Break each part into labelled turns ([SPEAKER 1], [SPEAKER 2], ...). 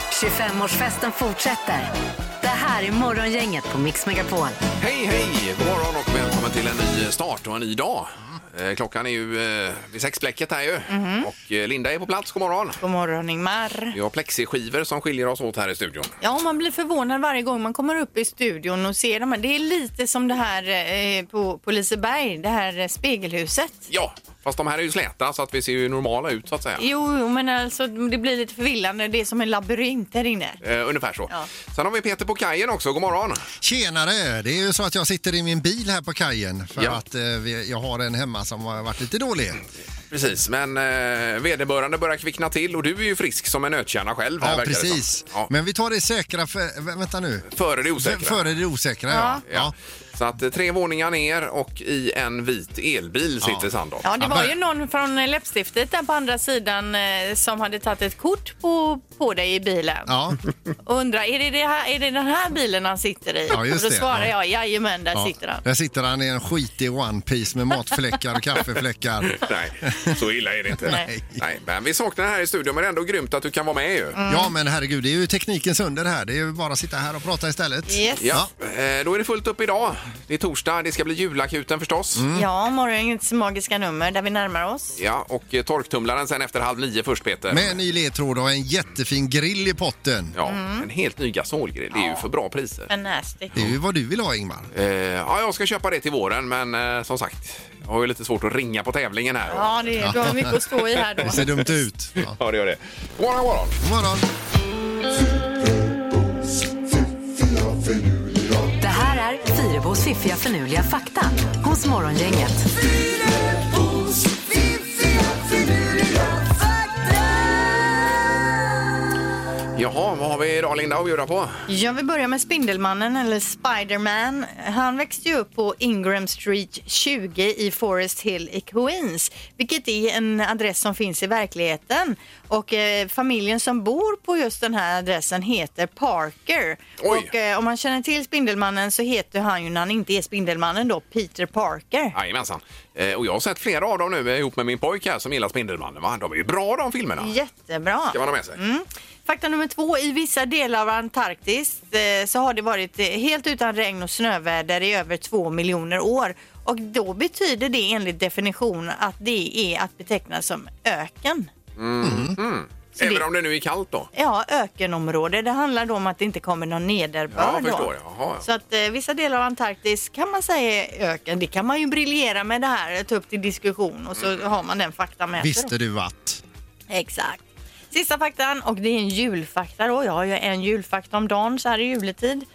[SPEAKER 1] 25-årsfesten fortsätter. Det här är Morgongänget på Mix Megapol.
[SPEAKER 2] Hej, hej! God morgon och välkommen till en ny start och en ny dag. Eh, Klockan är ju eh, vid sexblecket här ju. Och eh, Linda är på plats, god morgon.
[SPEAKER 3] God morgon Ingmar.
[SPEAKER 2] Vi har plexiskivor som skiljer oss åt här i studion.
[SPEAKER 3] Ja, man blir förvånad varje gång man kommer upp i studion och ser dem här. Det är lite som det här eh, på, på Liseberg, det här eh, spegelhuset.
[SPEAKER 2] Ja, fast de här är ju släta så att vi ser ju normala ut så att säga.
[SPEAKER 3] Jo, jo, men alltså det blir lite förvillande. Det är som en labyrint där inne.
[SPEAKER 2] Eh, ungefär så.
[SPEAKER 3] Ja.
[SPEAKER 2] Sen har vi Peter på kajen också, god morgon.
[SPEAKER 4] Tjenare! Det är ju så att jag sitter i min bil här på kajen för
[SPEAKER 2] Ja.
[SPEAKER 4] att eh, vi- jag har en hemma som har varit lite dålig.
[SPEAKER 2] Precis, men eh, vederbörande börjar kvickna till och du är ju frisk som en nötkärna själv. här
[SPEAKER 4] Ja,
[SPEAKER 2] verkar det som.
[SPEAKER 4] precis.
[SPEAKER 2] Ja,
[SPEAKER 4] Men vi tar det säkra för... vä- Vänta nu.
[SPEAKER 2] Före det osäkra.
[SPEAKER 4] F- Före det osäkra, ja.
[SPEAKER 2] Ja.
[SPEAKER 4] ja.
[SPEAKER 2] Så att eh, tre våningar ner och i en vit elbil sitter Sandholt.
[SPEAKER 3] Ja, det
[SPEAKER 4] Ja,
[SPEAKER 3] var
[SPEAKER 4] men-
[SPEAKER 3] ju någon från eh, läppstiftet där på andra sidan eh, som hade tagit ett kort på, på dig i bilen.
[SPEAKER 4] Ja,
[SPEAKER 3] Och undrar, är det, det här, är det den här bilen han sitter i?
[SPEAKER 4] Ja, just
[SPEAKER 3] och då
[SPEAKER 4] det.
[SPEAKER 3] svarar
[SPEAKER 4] Ja.
[SPEAKER 3] jag, jajamän, där
[SPEAKER 4] ja.
[SPEAKER 3] sitter han.
[SPEAKER 4] Där sitter han i en skitig One Piece med matfläckar och kaffefläckar.
[SPEAKER 3] Mm.
[SPEAKER 2] Nej, så illa är det inte.
[SPEAKER 3] Nej.
[SPEAKER 2] Nej, men vi saknar dig här i studion, men det är ändå grymt att du kan vara med ju.
[SPEAKER 3] Mm.
[SPEAKER 4] Ja, men herregud, det är ju teknikens under här. Det är ju bara att sitta här och prata istället.
[SPEAKER 3] Yes.
[SPEAKER 2] Ja. eh, Då är det fullt upp idag. Det är torsdag, det ska bli julakuten förstås.
[SPEAKER 4] Mm.
[SPEAKER 3] Ja, morgonens magiska nummer där vi närmar oss.
[SPEAKER 2] Ja, och eh, torktumlaren sen efter halv nio först Peter.
[SPEAKER 4] Med en ny ledtråd och en jättefin grill i potten.
[SPEAKER 2] Ja,
[SPEAKER 3] Mm.
[SPEAKER 2] en helt ny gasolgrill. Det är ju för bra priser.
[SPEAKER 3] Fantastic.
[SPEAKER 4] Det är ju vad du vill ha, Ingmar.
[SPEAKER 2] Eh, ja, jag ska köpa det till våren, men eh, som sagt, jag har ju lite svårt att ringa på tävlingen här.
[SPEAKER 3] Ja, det är, du har mycket att stå i här då.
[SPEAKER 4] Det ser dumt ut. Ja.
[SPEAKER 2] Ja, det gör det. God morgon, god morgon.
[SPEAKER 4] God morgon!
[SPEAKER 1] Det här är Fyrebos fiffiga förnuliga fakta hos Morgongänget.
[SPEAKER 2] Jaha, vad har vi idag Linda att bjuda på?
[SPEAKER 3] Ja, vi börjar med Spindelmannen, eller Spiderman. Han växte ju upp på Ingram Street 20 i Forest Hill i Queens, vilket är en adress som finns i verkligheten. Och eh, familjen som bor på just den här adressen heter Parker.
[SPEAKER 2] Oj.
[SPEAKER 3] Och eh, om man känner till Spindelmannen så heter han ju när han inte är Spindelmannen då Peter Parker.
[SPEAKER 2] Jajamensan. Eh, och jag har sett flera av dem nu eh, ihop med min pojk här som gillar Spindelmannen. Va? De är ju bra de filmerna.
[SPEAKER 3] Jättebra.
[SPEAKER 2] Ska man ha med sig?
[SPEAKER 3] Fakta nummer två. I vissa delar av Antarktis eh, så har det varit eh, helt utan regn och snöväder i över två miljoner år. Och då betyder det enligt definition att det är att beteckna som öken. Så
[SPEAKER 2] Även
[SPEAKER 3] det-
[SPEAKER 2] om det nu är kallt då?
[SPEAKER 3] Ja, ökenområde. Det handlar då om att det inte kommer någon
[SPEAKER 2] Ja,
[SPEAKER 3] nederbörd.
[SPEAKER 2] jag förstår.
[SPEAKER 3] då.
[SPEAKER 2] Jaha, ja.
[SPEAKER 3] Så att eh, vissa delar av Antarktis kan man säga är öken. Det kan man ju briljera med det här, ta upp till diskussion och så
[SPEAKER 2] Mm.
[SPEAKER 3] har man den fakta med sig då.
[SPEAKER 4] Visste du att?
[SPEAKER 3] Exakt. Sista faktan, och det är en julfakta då. Jag har ju en julfakta om dagen så här i juletid.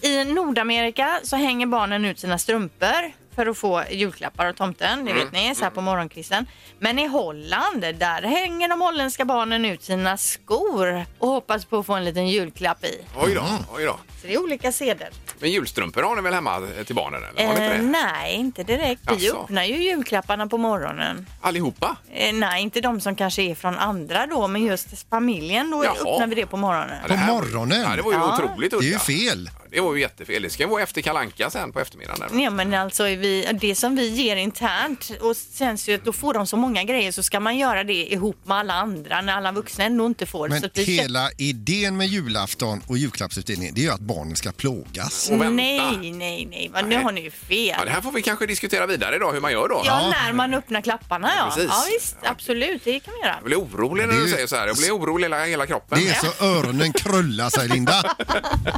[SPEAKER 3] I Nordamerika så hänger barnen ut sina strumpor för att få julklappar av tomten, det vet
[SPEAKER 2] Mm.
[SPEAKER 3] ni, så här på morgonkvisten. Men i Holland, där hänger de holländska barnen ut sina skor och hoppas på att få en liten julklapp i.
[SPEAKER 2] Oj då,
[SPEAKER 4] Mm.
[SPEAKER 2] oj då.
[SPEAKER 3] Så det är olika seder.
[SPEAKER 2] Men julstrumpor har ni väl hemma eh, till barnen? Eller? Har ni inte
[SPEAKER 3] Eh,
[SPEAKER 2] det?
[SPEAKER 3] nej, inte direkt. Vi
[SPEAKER 2] Jaså?
[SPEAKER 3] öppnar ju julklapparna på morgonen.
[SPEAKER 2] Allihopa?
[SPEAKER 3] Eh, nej, inte de som kanske är från andra då, men just familjen då
[SPEAKER 2] Jaha.
[SPEAKER 3] öppnar vi det på morgonen.
[SPEAKER 2] det här-
[SPEAKER 4] morgonen?
[SPEAKER 2] Ja, det var ju
[SPEAKER 3] Ja.
[SPEAKER 2] otroligt
[SPEAKER 4] Det är ju
[SPEAKER 2] udda.
[SPEAKER 4] fel.
[SPEAKER 2] Ja, Det var ju jättefel. Det ska ju vara efter kalanka sen på eftermiddagen. Där.
[SPEAKER 3] Ja men alltså vi, det som vi ger internt och sen så att då får de så många grejer så ska man göra det ihop med alla andra när alla vuxna ändå inte får det.
[SPEAKER 4] Men
[SPEAKER 3] Så att vi
[SPEAKER 4] hela idén med julafton och julklappsutdelningen det är ju att barnen ska plågas.
[SPEAKER 2] Och vänta.
[SPEAKER 3] Nej, nej, nej. Vad, nu
[SPEAKER 2] Nej.
[SPEAKER 3] har ni ju fel.
[SPEAKER 2] Ja, det här får vi kanske diskutera vidare idag hur man gör då.
[SPEAKER 3] Ja, när man öppnar klapparna ja.
[SPEAKER 2] Precis.
[SPEAKER 3] Ja, visst, absolut. Det kan man göra.
[SPEAKER 2] Jag blir orolig
[SPEAKER 4] Ja,
[SPEAKER 2] när
[SPEAKER 4] det är
[SPEAKER 2] du
[SPEAKER 4] ju-
[SPEAKER 2] säger så här. Jag blir orolig hela, hela kroppen.
[SPEAKER 4] Det är så öronen krullar sig, Linda.
[SPEAKER 2] Ja,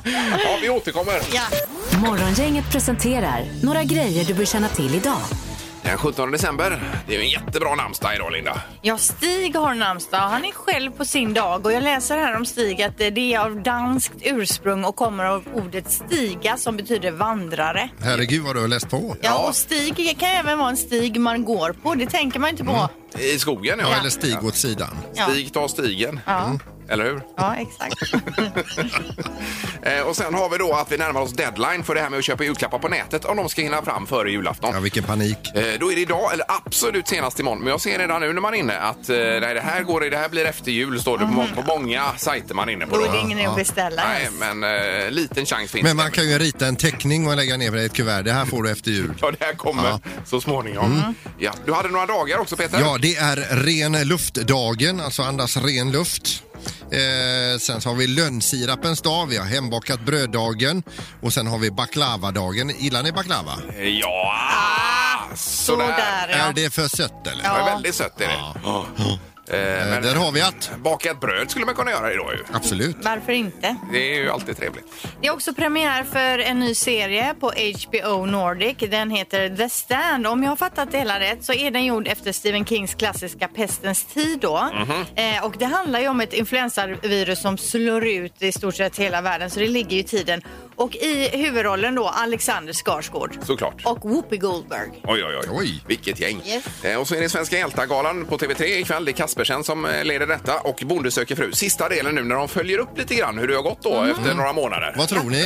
[SPEAKER 2] vi återkommer.
[SPEAKER 3] Ja.
[SPEAKER 1] Morgongänget presenterar några grejer du bör känna till idag.
[SPEAKER 2] Den 17 december. Det är ju en jättebra namnsdag idag Linda.
[SPEAKER 3] Ja, Stig har namnsdag. Han är själv på sin dag. Och jag läser här om Stig att eh, det är av danskt ursprung och kommer av ordet stiga som betyder vandrare.
[SPEAKER 4] Herregud vad du har läst på.
[SPEAKER 3] Ja, och stig kan även vara en stig man går på. Det tänker man inte på.
[SPEAKER 2] Mm. I skogen
[SPEAKER 4] Ja, eller stig åt sidan.
[SPEAKER 3] Ja.
[SPEAKER 2] Stig tar stigen. Mm.
[SPEAKER 3] Ja.
[SPEAKER 2] Eller hur?
[SPEAKER 3] Ja, exakt.
[SPEAKER 2] Eh, och sen har vi då att vi närmar oss deadline för det här med att köpa julklappar på nätet om de ska hinna fram före julafton.
[SPEAKER 4] Ja, vilken panik.
[SPEAKER 2] Eh, Då är det idag, eller absolut senast imorgon. Men jag ser redan nu när man är inne att eh, nej, det här går, det här blir efter jul står det på, må- på många sajter man är inne på.
[SPEAKER 3] Mhm. Då
[SPEAKER 2] Då.
[SPEAKER 3] är det ingen idé att beställa.
[SPEAKER 2] Nej, men eh, liten chans finns
[SPEAKER 4] Men man
[SPEAKER 2] det.
[SPEAKER 4] kan ju rita en teckning och lägga ner det i ett kuvert. Det här får du efter jul.
[SPEAKER 2] Ja, det här kommer
[SPEAKER 4] Ja. Mm.
[SPEAKER 2] så småningom. Ja, du hade några dagar också Peter.
[SPEAKER 4] Ja, det är ren luftdagen, alltså andas ren luft. Eh, sen så har vi lönnsirapens dag, vi har hembakat bröddagen och sen har vi baklavadagen. Gillar ni baklava?
[SPEAKER 2] Ja,
[SPEAKER 3] Sådär, ja.
[SPEAKER 4] Är det för sött eller?
[SPEAKER 2] Det
[SPEAKER 3] Ja.
[SPEAKER 2] är väldigt sött är det. Ja. Eh,
[SPEAKER 4] Eh,
[SPEAKER 2] men
[SPEAKER 4] där har vi att.
[SPEAKER 2] bakat bröd skulle man kunna göra idag ju.
[SPEAKER 4] Absolut.
[SPEAKER 3] Varför inte?
[SPEAKER 2] Det är ju alltid trevligt.
[SPEAKER 3] Det är också premiär för en ny serie på HBO Nordic. Den heter The Stand. Om jag har fattat det hela rätt så är den gjord efter Stephen Kings klassiska Pestens tid. Då.
[SPEAKER 2] Mhm.
[SPEAKER 3] Eh, och det handlar ju om ett influensavirus som slår ut i stort sett hela världen, så det ligger ju i tiden. Och i huvudrollen då Alexander Skarsgård
[SPEAKER 2] Såklart.
[SPEAKER 3] och Whoopi Goldberg.
[SPEAKER 2] Oj, oj, oj.
[SPEAKER 4] Oj.
[SPEAKER 2] Vilket gäng.
[SPEAKER 3] Yes.
[SPEAKER 2] Eh, och så är det Svenska hjältargalan på TV3 ikväll. Det är Kaspersen som eh, leder detta och Bonde söker fru. Sista delen nu när de följer upp lite grann hur det har gått då efter några månader.
[SPEAKER 4] Vad tror ni?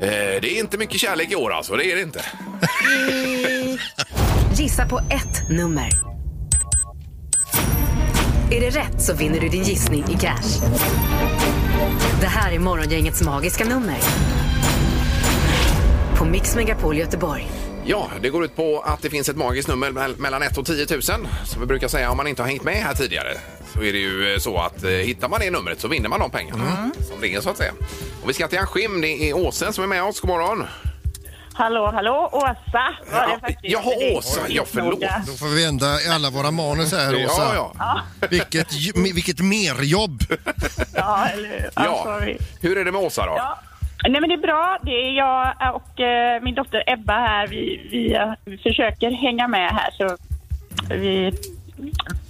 [SPEAKER 2] Eh, det är inte mycket kärlek i år alltså, det är det inte.
[SPEAKER 1] Gissa på ett nummer. Är det rätt så vinner du din gissning i cash. Det här är Morgongängets magiska nummer. På Mix Megapol Göteborg.
[SPEAKER 2] Ja, det går ut på att det finns ett magiskt nummer mell- mellan 1 och 10 000. Som vi brukar säga om man inte har hängt med här tidigare. Så är det ju eh, så att eh, hittar man det numret så vinner man de pengarna
[SPEAKER 4] Mm.
[SPEAKER 2] som ringer så att säga. Och vi ska till Askim, det är Åse som är med oss. God morgon!
[SPEAKER 5] Hallå, hallå, Åsa var det faktiskt.
[SPEAKER 2] Jaha,
[SPEAKER 5] för det.
[SPEAKER 2] Åsa. Ja, förlåt.
[SPEAKER 4] Då får vi ändra i alla våra manus här Åsa.
[SPEAKER 2] Ja, ja.
[SPEAKER 4] Vilket, ju- me- vilket merjobb!
[SPEAKER 5] Ja, eller hur? Ja.
[SPEAKER 2] ja.
[SPEAKER 5] sorry.
[SPEAKER 2] Hur är det med Åsa då?
[SPEAKER 5] Ja. Nej men det är bra. Det är jag och eh, min dotter Ebba här. Vi, vi, eh, vi försöker hänga med här så vi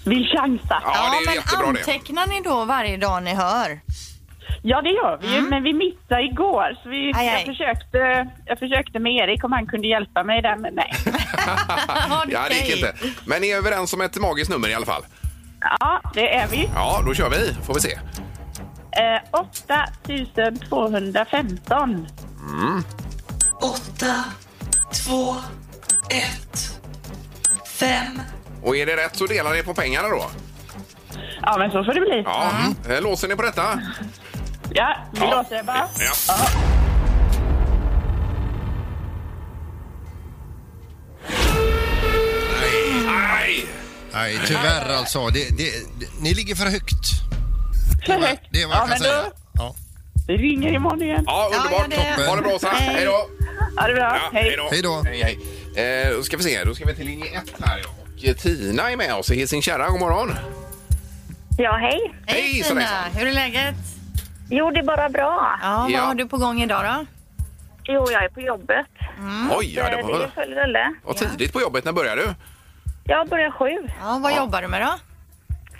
[SPEAKER 5] vill chansa. Ja,
[SPEAKER 2] Ja, det är
[SPEAKER 3] men
[SPEAKER 2] jättebra det.
[SPEAKER 3] antecknar ni då varje dag ni hör?
[SPEAKER 5] det gör vi ju
[SPEAKER 2] Mm.
[SPEAKER 5] men vi missade igår så vi,
[SPEAKER 3] Aj,
[SPEAKER 5] jag,
[SPEAKER 3] aj.
[SPEAKER 5] Försökte, jag försökte med Erik om han kunde hjälpa mig där men nej.
[SPEAKER 2] Ja, det gick
[SPEAKER 3] Okej.
[SPEAKER 2] inte. Men ni är överens om ett magiskt nummer i alla fall?
[SPEAKER 5] Ja, det är vi.
[SPEAKER 2] Ja, då kör vi. Får vi se.
[SPEAKER 5] Eh, 8215.
[SPEAKER 6] 8, 2, 1, 5.
[SPEAKER 2] Och är det rätt så delar ni på pengarna då?
[SPEAKER 5] Ja men så får det bli. Ja,
[SPEAKER 2] Ja. Eh, Låser ni på detta?
[SPEAKER 5] vi
[SPEAKER 2] Ja.
[SPEAKER 5] låter det bara.
[SPEAKER 2] Ja. Nej, nej.
[SPEAKER 4] Nej, tyvärr alltså. Det, det, det, ni ligger för högt.
[SPEAKER 5] För högt.
[SPEAKER 4] Det är vad jag
[SPEAKER 5] ja,
[SPEAKER 4] kan
[SPEAKER 5] men
[SPEAKER 4] säga.
[SPEAKER 5] då,
[SPEAKER 4] Ja.
[SPEAKER 5] vi ringer imorgon igen.
[SPEAKER 2] Ja, underbart.
[SPEAKER 3] Ja, ja,
[SPEAKER 4] det-
[SPEAKER 2] Ha det bra, så.
[SPEAKER 3] Hej.
[SPEAKER 2] Hej då.
[SPEAKER 5] Ha det bra.
[SPEAKER 2] Ja,
[SPEAKER 5] Hej.
[SPEAKER 2] då.
[SPEAKER 4] Hej då.
[SPEAKER 2] Hej, hej. Eh, då ska vi se. Då ska vi till linje 1 här. ja. Och eh, Tina är med oss i Helsingkärra. God morgon.
[SPEAKER 7] Ja, hej.
[SPEAKER 2] Hej,
[SPEAKER 3] Hej
[SPEAKER 2] så
[SPEAKER 3] Tina,
[SPEAKER 2] hejsan.
[SPEAKER 3] hur är läget?
[SPEAKER 7] Jo, det är bara bra.
[SPEAKER 3] Ja,
[SPEAKER 2] Ja.
[SPEAKER 3] Vad har du på gång idag då?
[SPEAKER 7] Jo, jag är på jobbet.
[SPEAKER 2] Oj, ja, det
[SPEAKER 7] Eh, är
[SPEAKER 2] var,
[SPEAKER 7] full rulle.
[SPEAKER 2] var tidigt på jobbet. När började du?
[SPEAKER 7] Jag börjar sju.
[SPEAKER 3] Ja, vad jobbar du med då?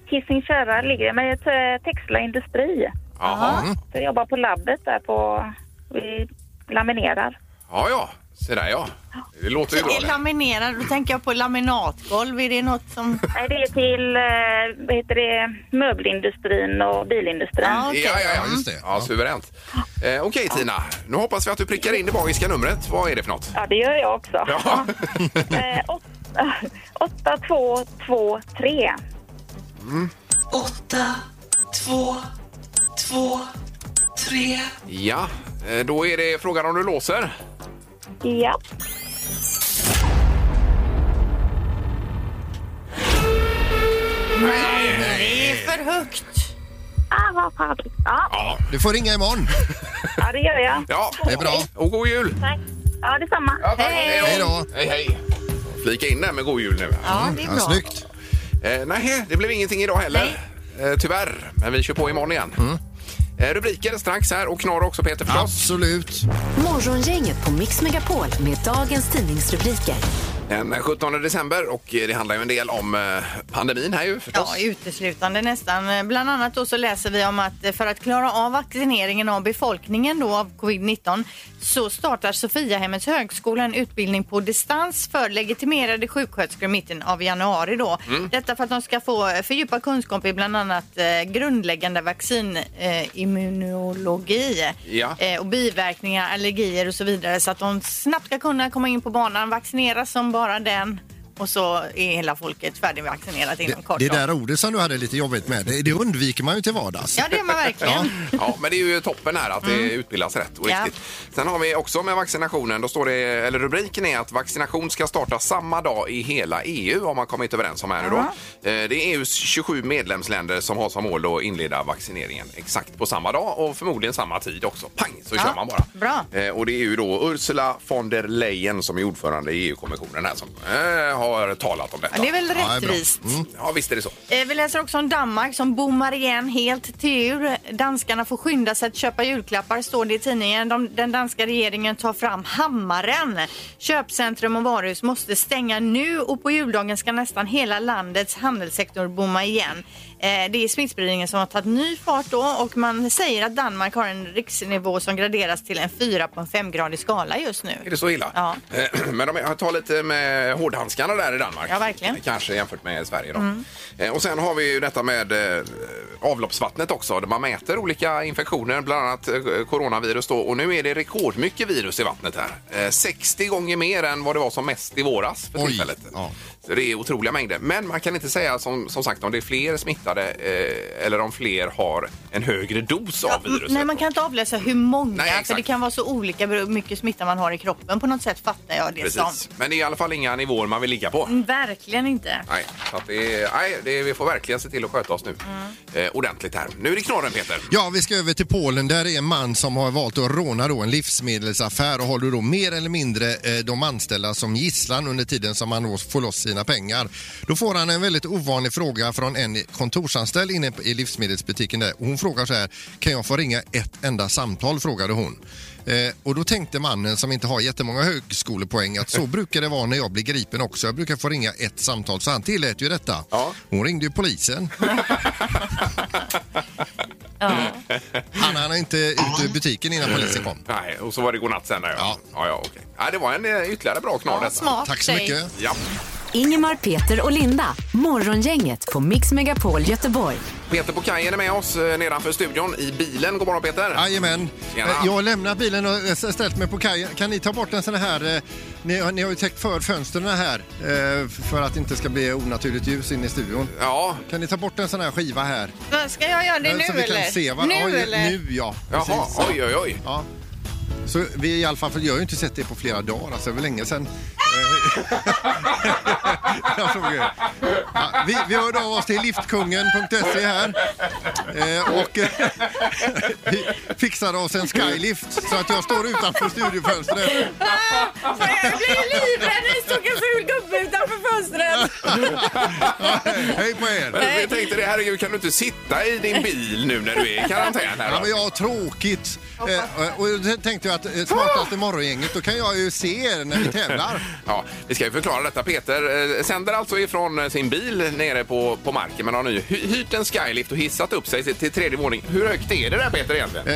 [SPEAKER 7] Hisingskära ligger med ett eh, Texla Industri.
[SPEAKER 2] Jaha. Mm.
[SPEAKER 7] Så jag jobbar på labbet där på... Vi laminerar.
[SPEAKER 2] Ja, ja. Se där, ja. Det låter ju bra.
[SPEAKER 3] Till
[SPEAKER 2] det.
[SPEAKER 3] laminerad, då tänker jag på laminatgolv. Är det något som...
[SPEAKER 7] Nej, det är till eh, vad heter det, möbelindustrin och bilindustrin.
[SPEAKER 3] Ja, okej. Mm.
[SPEAKER 2] Ja, ja, ja.
[SPEAKER 4] Ja, just det.
[SPEAKER 2] Ja, suveränt. Eh, Okej, Tina. Nu hoppas vi att du prickar in det magiska numret. Vad är det för något?
[SPEAKER 7] Ja, det gör jag också.
[SPEAKER 2] Ja.
[SPEAKER 7] Eh, åt, åtta, två, två, tre.
[SPEAKER 6] 8, 2, 2, 3.
[SPEAKER 2] ja. Eh, Då är det frågan om du låser.
[SPEAKER 7] Ja.
[SPEAKER 3] Nej, det är för högt.
[SPEAKER 7] Ah, vad fan. Ja,
[SPEAKER 2] Ja.
[SPEAKER 4] Du får ringa imorgon.
[SPEAKER 7] ja, det gör jag.
[SPEAKER 2] Ja.
[SPEAKER 4] Det är bra.
[SPEAKER 2] Och god jul!
[SPEAKER 7] Tack. Ja, detsamma.
[SPEAKER 2] Ja, tack.
[SPEAKER 3] Hej.
[SPEAKER 4] Hej då.
[SPEAKER 2] Hej, hej! Flika in det här med god jul nu.
[SPEAKER 3] Ja, det är
[SPEAKER 4] Ja,
[SPEAKER 3] bra.
[SPEAKER 4] snyggt.
[SPEAKER 2] Eh, nej, det blev ingenting idag heller. Eh, tyvärr, men vi kör på imorgon igen.
[SPEAKER 3] Mm.
[SPEAKER 2] Eh, rubriker strax här och knorr också Peter förstås.
[SPEAKER 4] Absolut.
[SPEAKER 1] Morgongänget på Mix Megapol med dagens tidningsrubriker.
[SPEAKER 2] Den 17 december och eh, det handlar ju en del om eh, pandemin här ju förstås.
[SPEAKER 3] Ja, uteslutande nästan. Bland annat då så läser vi om att för att klara av vaccineringen av befolkningen då av covid-19 så startar Sofiahemmets högskola en utbildning på distans för legitimerade sjuksköterskor i mitten av januari då. Detta för att de ska få fördjupa kunskap i bland annat eh, grundläggande vaccinimmunologi
[SPEAKER 2] Ja.
[SPEAKER 3] eh, och biverkningar, allergier och så vidare så att de snabbt ska kunna komma in på banan, vaccineras som bara den Och så är hela folket färdigvaccinerat inom
[SPEAKER 4] Det,
[SPEAKER 3] kort.
[SPEAKER 4] det
[SPEAKER 3] då.
[SPEAKER 4] där ordet som du hade lite jobbigt med, det, det undviker man ju till vardags.
[SPEAKER 3] Ja, det gör man verkligen.
[SPEAKER 2] Ja, men det är ju toppen här att det utbildas rätt och
[SPEAKER 3] Mm. Ja.
[SPEAKER 2] riktigt. Sen har vi också med vaccinationen, då står det, eller rubriken är att vaccination ska starta samma dag i hela EU har man kommit överens om här nu då. Eh, Det är EUs 27 medlemsländer som har som mål att inleda vaccineringen exakt på samma dag och förmodligen samma tid också. Pang, så
[SPEAKER 3] Ja,
[SPEAKER 2] kör man bara.
[SPEAKER 3] bra.
[SPEAKER 2] Eh, Och det är ju då Ursula von der Leyen som är ordförande i EU-kommissionen här som eh, har talat om detta.
[SPEAKER 3] Ja, det är väl
[SPEAKER 4] Ja, det är bra.
[SPEAKER 3] rättvist.
[SPEAKER 4] Mm.
[SPEAKER 2] Ja, visst är det så.
[SPEAKER 3] Eh, Vi läser också om Danmark som bommar igen helt tur. Danskarna får skynda sig att köpa julklappar, står det i tidningen. De, den danska regeringen tar fram hammaren. Köpcentrum och varuhus måste stänga nu och på juldagen ska nästan hela landets handelssektor bomma igen. Eh, Det är smittspridningen som har tagit ny fart då och man säger att Danmark har en riksnivå som graderas till en 4 på en 5-gradig skala just nu.
[SPEAKER 2] Är det så illa?
[SPEAKER 3] Ja.
[SPEAKER 2] Eh, Men de har tagit lite med hårdhandskarna där i Danmark.
[SPEAKER 3] Ja, verkligen. Mm.
[SPEAKER 2] Kanske jämfört med Sverige då. Eh, Och sen har vi ju detta med eh, avloppsvattnet också. Där man mäter olika infektioner, bland annat eh, coronavirus då. Och nu är det rekordmycket virus i vattnet här. Eh, 60 gånger mer än vad det var som mest i våras för
[SPEAKER 4] Oj,
[SPEAKER 2] tillfället.
[SPEAKER 4] ja.
[SPEAKER 2] Så det är otroliga mängder. Men man kan inte säga som, som sagt om det är fler smittade eh, eller om fler har en högre dos av viruset.
[SPEAKER 3] mm, Nej, man kan inte avläsa hur många,
[SPEAKER 2] Nej,
[SPEAKER 3] för
[SPEAKER 2] exakt.
[SPEAKER 3] det kan vara så olika hur mycket smitta man har i kroppen. På något sätt fattar jag det
[SPEAKER 2] Precis.
[SPEAKER 3] som.
[SPEAKER 2] Men det är i alla fall inga nivåer man vill ligga på.
[SPEAKER 3] Verkligen inte.
[SPEAKER 2] Nej, så att det, är- nej det, vi får verkligen se till att sköta oss nu.
[SPEAKER 4] Mm.
[SPEAKER 2] Eh, ordentligt här. Nu är det knorren, Peter.
[SPEAKER 4] Ja, vi ska över till Polen där det är en man som har valt att råna då en livsmedelsaffär och håller då mer eller mindre eh, de anställda som gisslan under tiden som han då får loss sina pengar. Då får han en väldigt ovanlig fråga från en kontorsanställd inne i livsmedelsbutiken där. Hon frågar så här, kan jag få ringa ett enda samtal? frågade hon. Eh, och då tänkte mannen som inte har jättemånga högskolepoäng att så brukar det vara när jag blir gripen också. Jag brukar få ringa ett samtal, så han tillät ju detta.
[SPEAKER 2] Ja.
[SPEAKER 4] Hon ringde ju polisen. Han hann inte ut ur butiken innan polisen kom.
[SPEAKER 2] Nej, och så var det godnatt sen. Där,
[SPEAKER 4] Ja.
[SPEAKER 2] ja, ja okej. Nej, det var en eh, ytterligare bra knorr
[SPEAKER 3] Ja,
[SPEAKER 2] detta.
[SPEAKER 3] smart
[SPEAKER 4] Tack så
[SPEAKER 3] tjej.
[SPEAKER 4] mycket.
[SPEAKER 2] Ja.
[SPEAKER 1] Ingemar, Peter och Linda. Morgongänget på Mix Megapol Göteborg.
[SPEAKER 2] Peter på kajen är med oss eh, nedanför studion i bilen. God morgon Peter!
[SPEAKER 4] Jajamän.
[SPEAKER 2] Tjena.
[SPEAKER 4] Eh, Jag har lämnat bilen och eh, ställt mig på kajen. Kan ni ta bort en sån här... eh, Ni, har- ni har ju täckt för fönstren här eh, för att det inte ska bli onaturligt ljus in i studion.
[SPEAKER 2] Ja,
[SPEAKER 4] Kan ni ta bort en sån här skiva här?
[SPEAKER 3] Men Ska jag göra det
[SPEAKER 4] Eh,
[SPEAKER 3] nu
[SPEAKER 4] så vi kan
[SPEAKER 3] eller?
[SPEAKER 4] se vad...
[SPEAKER 3] Nu
[SPEAKER 4] Oj,
[SPEAKER 3] eller?
[SPEAKER 4] Nu ja.
[SPEAKER 2] jaha.
[SPEAKER 4] Precis.
[SPEAKER 2] Oj, oj, oj.
[SPEAKER 4] Ja. Så vi i alla fall, för jag har ju inte sett det på flera dagar, alltså det var länge sedan. Eh, jag såg det. ja, vi, vi hörde av oss till liftkungen.se här eh, och eh, vi fixade oss en skylift så att jag står utanför studiofönstret.
[SPEAKER 3] Ah, fan, jag blir livrädd! Det stod en ful gubbe utanför fönstret.
[SPEAKER 4] Ja, Hej på er!
[SPEAKER 2] Jag tänkte det, herregud kan du inte sitta i din bil nu när du är i karantän? Här,
[SPEAKER 4] Ja, men
[SPEAKER 2] då?
[SPEAKER 4] jag har tråkigt. Eh, och då tänkte jag att eh, smartaste morgongänget, då kan jag ju se er när vi tävlar.
[SPEAKER 2] Ja, vi ska ju förklara detta. Peter eh, sänder alltså ifrån eh, sin bil nere på, på marken men har nu hy- hyrt en skylift och hissat upp sig till, till tredje våning. Hur högt är det där Peter egentligen?
[SPEAKER 4] Eh,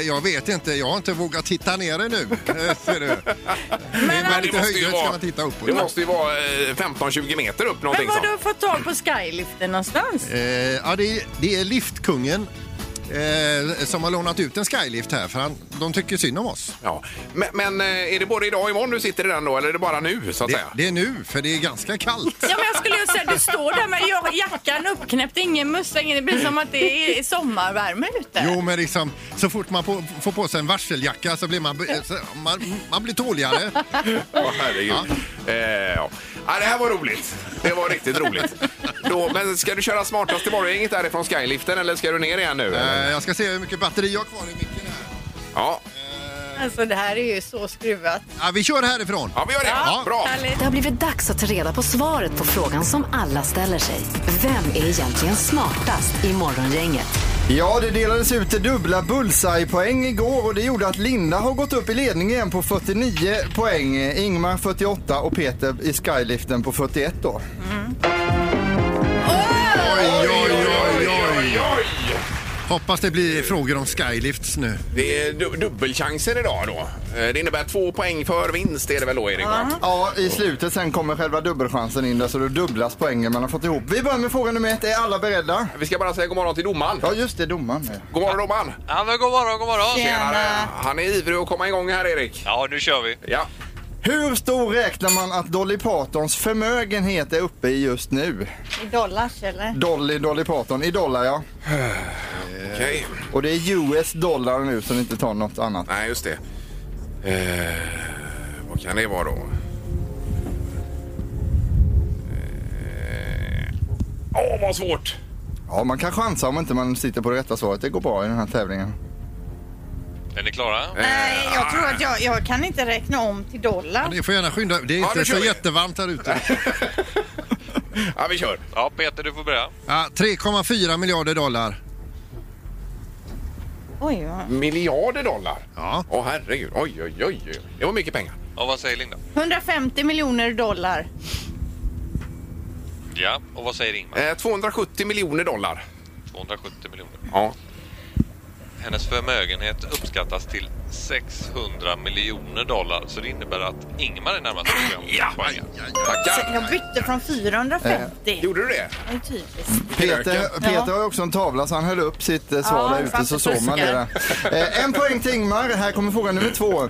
[SPEAKER 4] jag vet inte, jag har inte vågat titta ner ännu. Eh, ser du. Men,
[SPEAKER 2] Men
[SPEAKER 4] med lite
[SPEAKER 2] måste ju
[SPEAKER 4] höjdrätt
[SPEAKER 2] vara-
[SPEAKER 4] ska man titta uppåt.
[SPEAKER 2] Det måste ju vara eh, 15-20 meter upp
[SPEAKER 3] Men
[SPEAKER 2] någonting
[SPEAKER 3] var
[SPEAKER 2] sånt.
[SPEAKER 3] du fått tag på skyliften någonstans?
[SPEAKER 4] Eh, ja, det, är, det är liftkungen eh, som har lånat ut en skylift här för han, de tycker synd om oss.
[SPEAKER 2] Ja. Men, men eh, är det både idag och imorgon du sitter i den då eller är det bara nu så att
[SPEAKER 4] Det,
[SPEAKER 2] säga?
[SPEAKER 4] det är nu, för det är ganska kallt.
[SPEAKER 3] Ja, men jag skulle ju säga att du står där med jag- jackan uppknäppt, ingen mössa, ingen- det blir som att det är sommarvärme ute.
[SPEAKER 4] Jo, men liksom, så fort man på, får på sig en varseljacka så blir man, be- så, man, man blir tåligare.
[SPEAKER 2] Åh, herregud. Eh, ja. ja, det här var roligt. Det var riktigt roligt. Då, men ska du köra smartast i morgongänget därifrån skyliften eller ska du ner igen nu?
[SPEAKER 4] Eh,
[SPEAKER 2] eller?
[SPEAKER 4] jag ska se hur mycket batteri jag har kvar i micken här.
[SPEAKER 2] Ja.
[SPEAKER 3] Alltså det här är ju så skruvat.
[SPEAKER 4] Ja, vi kör härifrån.
[SPEAKER 2] ja, vi gör det.
[SPEAKER 4] Ja.
[SPEAKER 2] Bra.
[SPEAKER 3] Härligt.
[SPEAKER 1] Det har blivit dags att ta reda på svaret på frågan som alla ställer sig. Vem är egentligen smartast i Morgongänget?
[SPEAKER 8] Ja, det delades ut dubbla bullseye-poäng igår och det gjorde att Linda har gått upp i ledning igen på 49 poäng. Ingmar 48 och Peter i skyliften på 41 då.
[SPEAKER 4] Oj, oj, oj, oj.
[SPEAKER 2] Oj, oj.
[SPEAKER 4] Hoppas det blir frågor om skylifts nu.
[SPEAKER 2] Det är du- dubbelchanser idag då. Eh, Det innebär två poäng för vinst är det väl då Erik? va?
[SPEAKER 8] Ja, i slutet sen kommer själva dubbelchansen in där så då dubblas poängen man har fått ihop. Vi börjar med fråga nummer ett. Är alla beredda?
[SPEAKER 2] Vi ska bara säga god morgon till domaren.
[SPEAKER 8] Ja, just det, domaren.
[SPEAKER 2] God morgon domaren.
[SPEAKER 9] Ja men god morgon, god morgon.
[SPEAKER 3] Tjena.
[SPEAKER 2] Han är ivrig att komma igång här Erik.
[SPEAKER 9] Ja nu kör vi.
[SPEAKER 2] Ja.
[SPEAKER 8] Hur stor räknar man att Dolly Partons förmögenhet är uppe i just nu?
[SPEAKER 3] I dollars eller?
[SPEAKER 8] Dolly, Dolly Parton, i dollar ja.
[SPEAKER 2] Okej.
[SPEAKER 8] Och det är US dollar nu så ni inte tar något annat.
[SPEAKER 2] Nej, just det. Eh, vad kan det vara då? Eh, Åh, vad svårt!
[SPEAKER 8] Ja, man kan chansa om inte man sitter på det rätta svaret. Det går bra i den här tävlingen.
[SPEAKER 9] Är ni klara?
[SPEAKER 3] Nej, jag tror att jag, jag kan inte räkna om till dollar.
[SPEAKER 4] Ni får gärna skynda. Det är
[SPEAKER 2] Ja,
[SPEAKER 4] inte
[SPEAKER 2] nu kör
[SPEAKER 4] så
[SPEAKER 2] vi.
[SPEAKER 4] jättevarmt här ute.
[SPEAKER 2] Ja, vi kör.
[SPEAKER 9] Ja, Peter, du får börja.
[SPEAKER 4] Ja, 3,4 miljarder dollar.
[SPEAKER 3] Oj, ja.
[SPEAKER 2] Miljarder dollar?
[SPEAKER 4] Ja.
[SPEAKER 2] Åh, herregud. Oj, oj, oj. oj. Det var mycket pengar.
[SPEAKER 9] Och vad säger Linda?
[SPEAKER 3] 150 miljoner dollar.
[SPEAKER 9] Ja. Och vad säger Ingmar?
[SPEAKER 2] Eh, 270 miljoner dollar.
[SPEAKER 9] 270 miljoner.
[SPEAKER 2] Ja.
[SPEAKER 9] Hennes förmögenhet uppskattas till 600 miljoner dollar. Så det innebär att Ingmar är närmast ja.
[SPEAKER 2] Tackar.
[SPEAKER 3] Jag bytte från 450.
[SPEAKER 2] Gjorde du det?
[SPEAKER 3] Det är typiskt.
[SPEAKER 8] Peter,
[SPEAKER 2] Röken.
[SPEAKER 8] Peter
[SPEAKER 3] Ja.
[SPEAKER 8] har ju också en tavla så han höll upp sitt eh, svar
[SPEAKER 3] Ja,
[SPEAKER 8] där ute
[SPEAKER 3] fast
[SPEAKER 8] så
[SPEAKER 3] det
[SPEAKER 8] såg man det där.
[SPEAKER 3] fuskar.
[SPEAKER 8] Eh, en poäng till Ingmar. Här kommer fråga nummer två. Eh,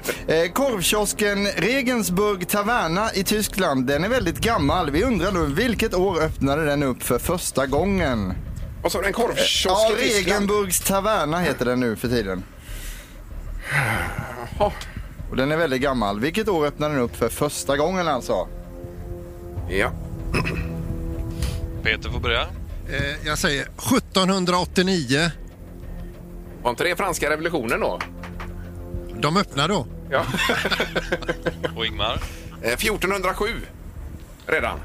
[SPEAKER 8] korvkiosken Regensburg Taverna i Tyskland, den är väldigt gammal. Vi undrar nu vilket år öppnade den upp för första gången?
[SPEAKER 2] Vad sa du? En korvkiosk
[SPEAKER 8] Ja,
[SPEAKER 2] i Tyskland?
[SPEAKER 8] Regenburgs Taverna heter den nu för tiden.
[SPEAKER 2] Jaha.
[SPEAKER 8] Och den är väldigt gammal. Vilket år öppnade den upp för första gången alltså?
[SPEAKER 2] Ja.
[SPEAKER 9] Peter får börja.
[SPEAKER 4] Eh, jag säger 1789.
[SPEAKER 2] Var inte det franska revolutionen då?
[SPEAKER 4] De öppnar då.
[SPEAKER 2] Ja.
[SPEAKER 9] Och Ingmar?
[SPEAKER 2] Eh, 1407. Redan.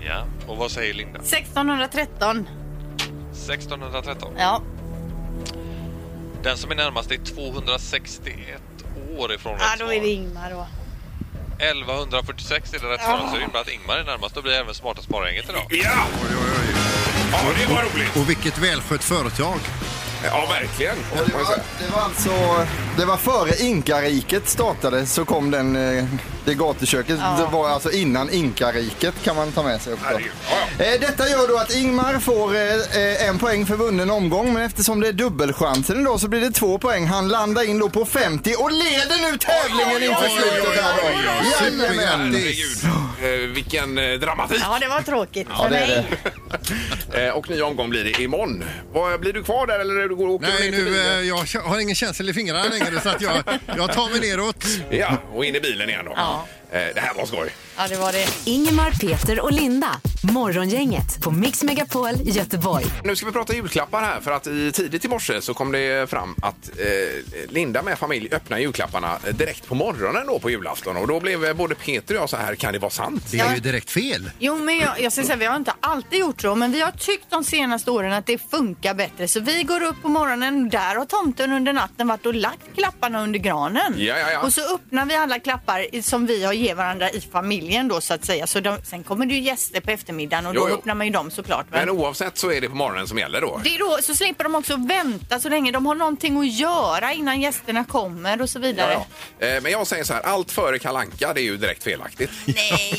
[SPEAKER 9] Ja. Och vad säger Linda?
[SPEAKER 3] 1613.
[SPEAKER 9] 1613.
[SPEAKER 3] Ja.
[SPEAKER 9] Den som är närmast är 261 år ifrån rätt
[SPEAKER 3] ja, då är det
[SPEAKER 9] svar.
[SPEAKER 3] Ingmar då.
[SPEAKER 9] 1146 är det rätt svar, så det innebär att Ingmar är närmast. Då blir även smarta spargänget idag.
[SPEAKER 2] Ja! Ja, det var roligt.
[SPEAKER 4] Och vilket välskött företag.
[SPEAKER 2] Ja, verkligen.
[SPEAKER 8] Och Det var, det var alltså, det var före inkariket startade så kom den, eh, det gatuköket. Det var alltså innan inkariket kan man ta med sig också.
[SPEAKER 2] Herregud. Ja, ja.
[SPEAKER 8] Eh, Detta gör då att Ingmar får eh, eh, en poäng för vunnen omgång men eftersom det är dubbelchansen då så blir det två poäng. Han landar in då på 50 och leder nu tävlingen inför slutet här då. Jajamän.
[SPEAKER 4] Supergrattis!
[SPEAKER 2] Eh, vilken eh, dramatik!
[SPEAKER 3] Ja, det var tråkigt
[SPEAKER 8] Ja,
[SPEAKER 3] för
[SPEAKER 8] det är
[SPEAKER 3] mig.
[SPEAKER 8] det.
[SPEAKER 2] Eh, och ny omgång blir det imorgon. Vad, blir du kvar där eller du går och åker
[SPEAKER 4] Nej,
[SPEAKER 2] ner till
[SPEAKER 4] nu,
[SPEAKER 2] bilen?
[SPEAKER 4] eh, jag har ingen känsel i fingrarna längre så att jag, jag tar mig neråt.
[SPEAKER 2] Ja, och in i bilen igen då.
[SPEAKER 3] Ja.
[SPEAKER 2] Eh, det här var skoj.
[SPEAKER 3] Ja, det var det.
[SPEAKER 1] Ingemar, Peter och Linda. Morgongänget på Mix Megapol Göteborg.
[SPEAKER 2] Nu ska vi prata julklappar här för att i tidigt i morse så kom det fram att eh, Linda med familj öppnar julklapparna eh, direkt på morgonen då på julafton och då blev eh, både Peter och jag så här, kan det vara sant?
[SPEAKER 4] Det är ju direkt fel.
[SPEAKER 3] Jo, men jag, jag ska säga, vi har inte alltid gjort så, men vi har tyckt de senaste åren att det funkar bättre. Så vi går upp på morgonen, där har tomten under natten varit och lagt klapparna under granen.
[SPEAKER 2] Ja, ja, ja.
[SPEAKER 3] Och så öppnar vi alla klappar i- som vi har ger varandra i familjen då så att säga. Så de, sen kommer det ju gäster på eftermiddagen och
[SPEAKER 2] Jo,
[SPEAKER 3] då
[SPEAKER 2] jo.
[SPEAKER 3] öppnar man ju dem såklart. va?
[SPEAKER 2] Men oavsett så är det på morgonen som gäller då.
[SPEAKER 3] Det är då, så slipper de också vänta så länge. De har någonting att göra innan gästerna kommer och så vidare.
[SPEAKER 2] Ja, ja. Eh, Men jag säger så här, allt före kalanka det är ju direkt felaktigt.
[SPEAKER 3] Nej,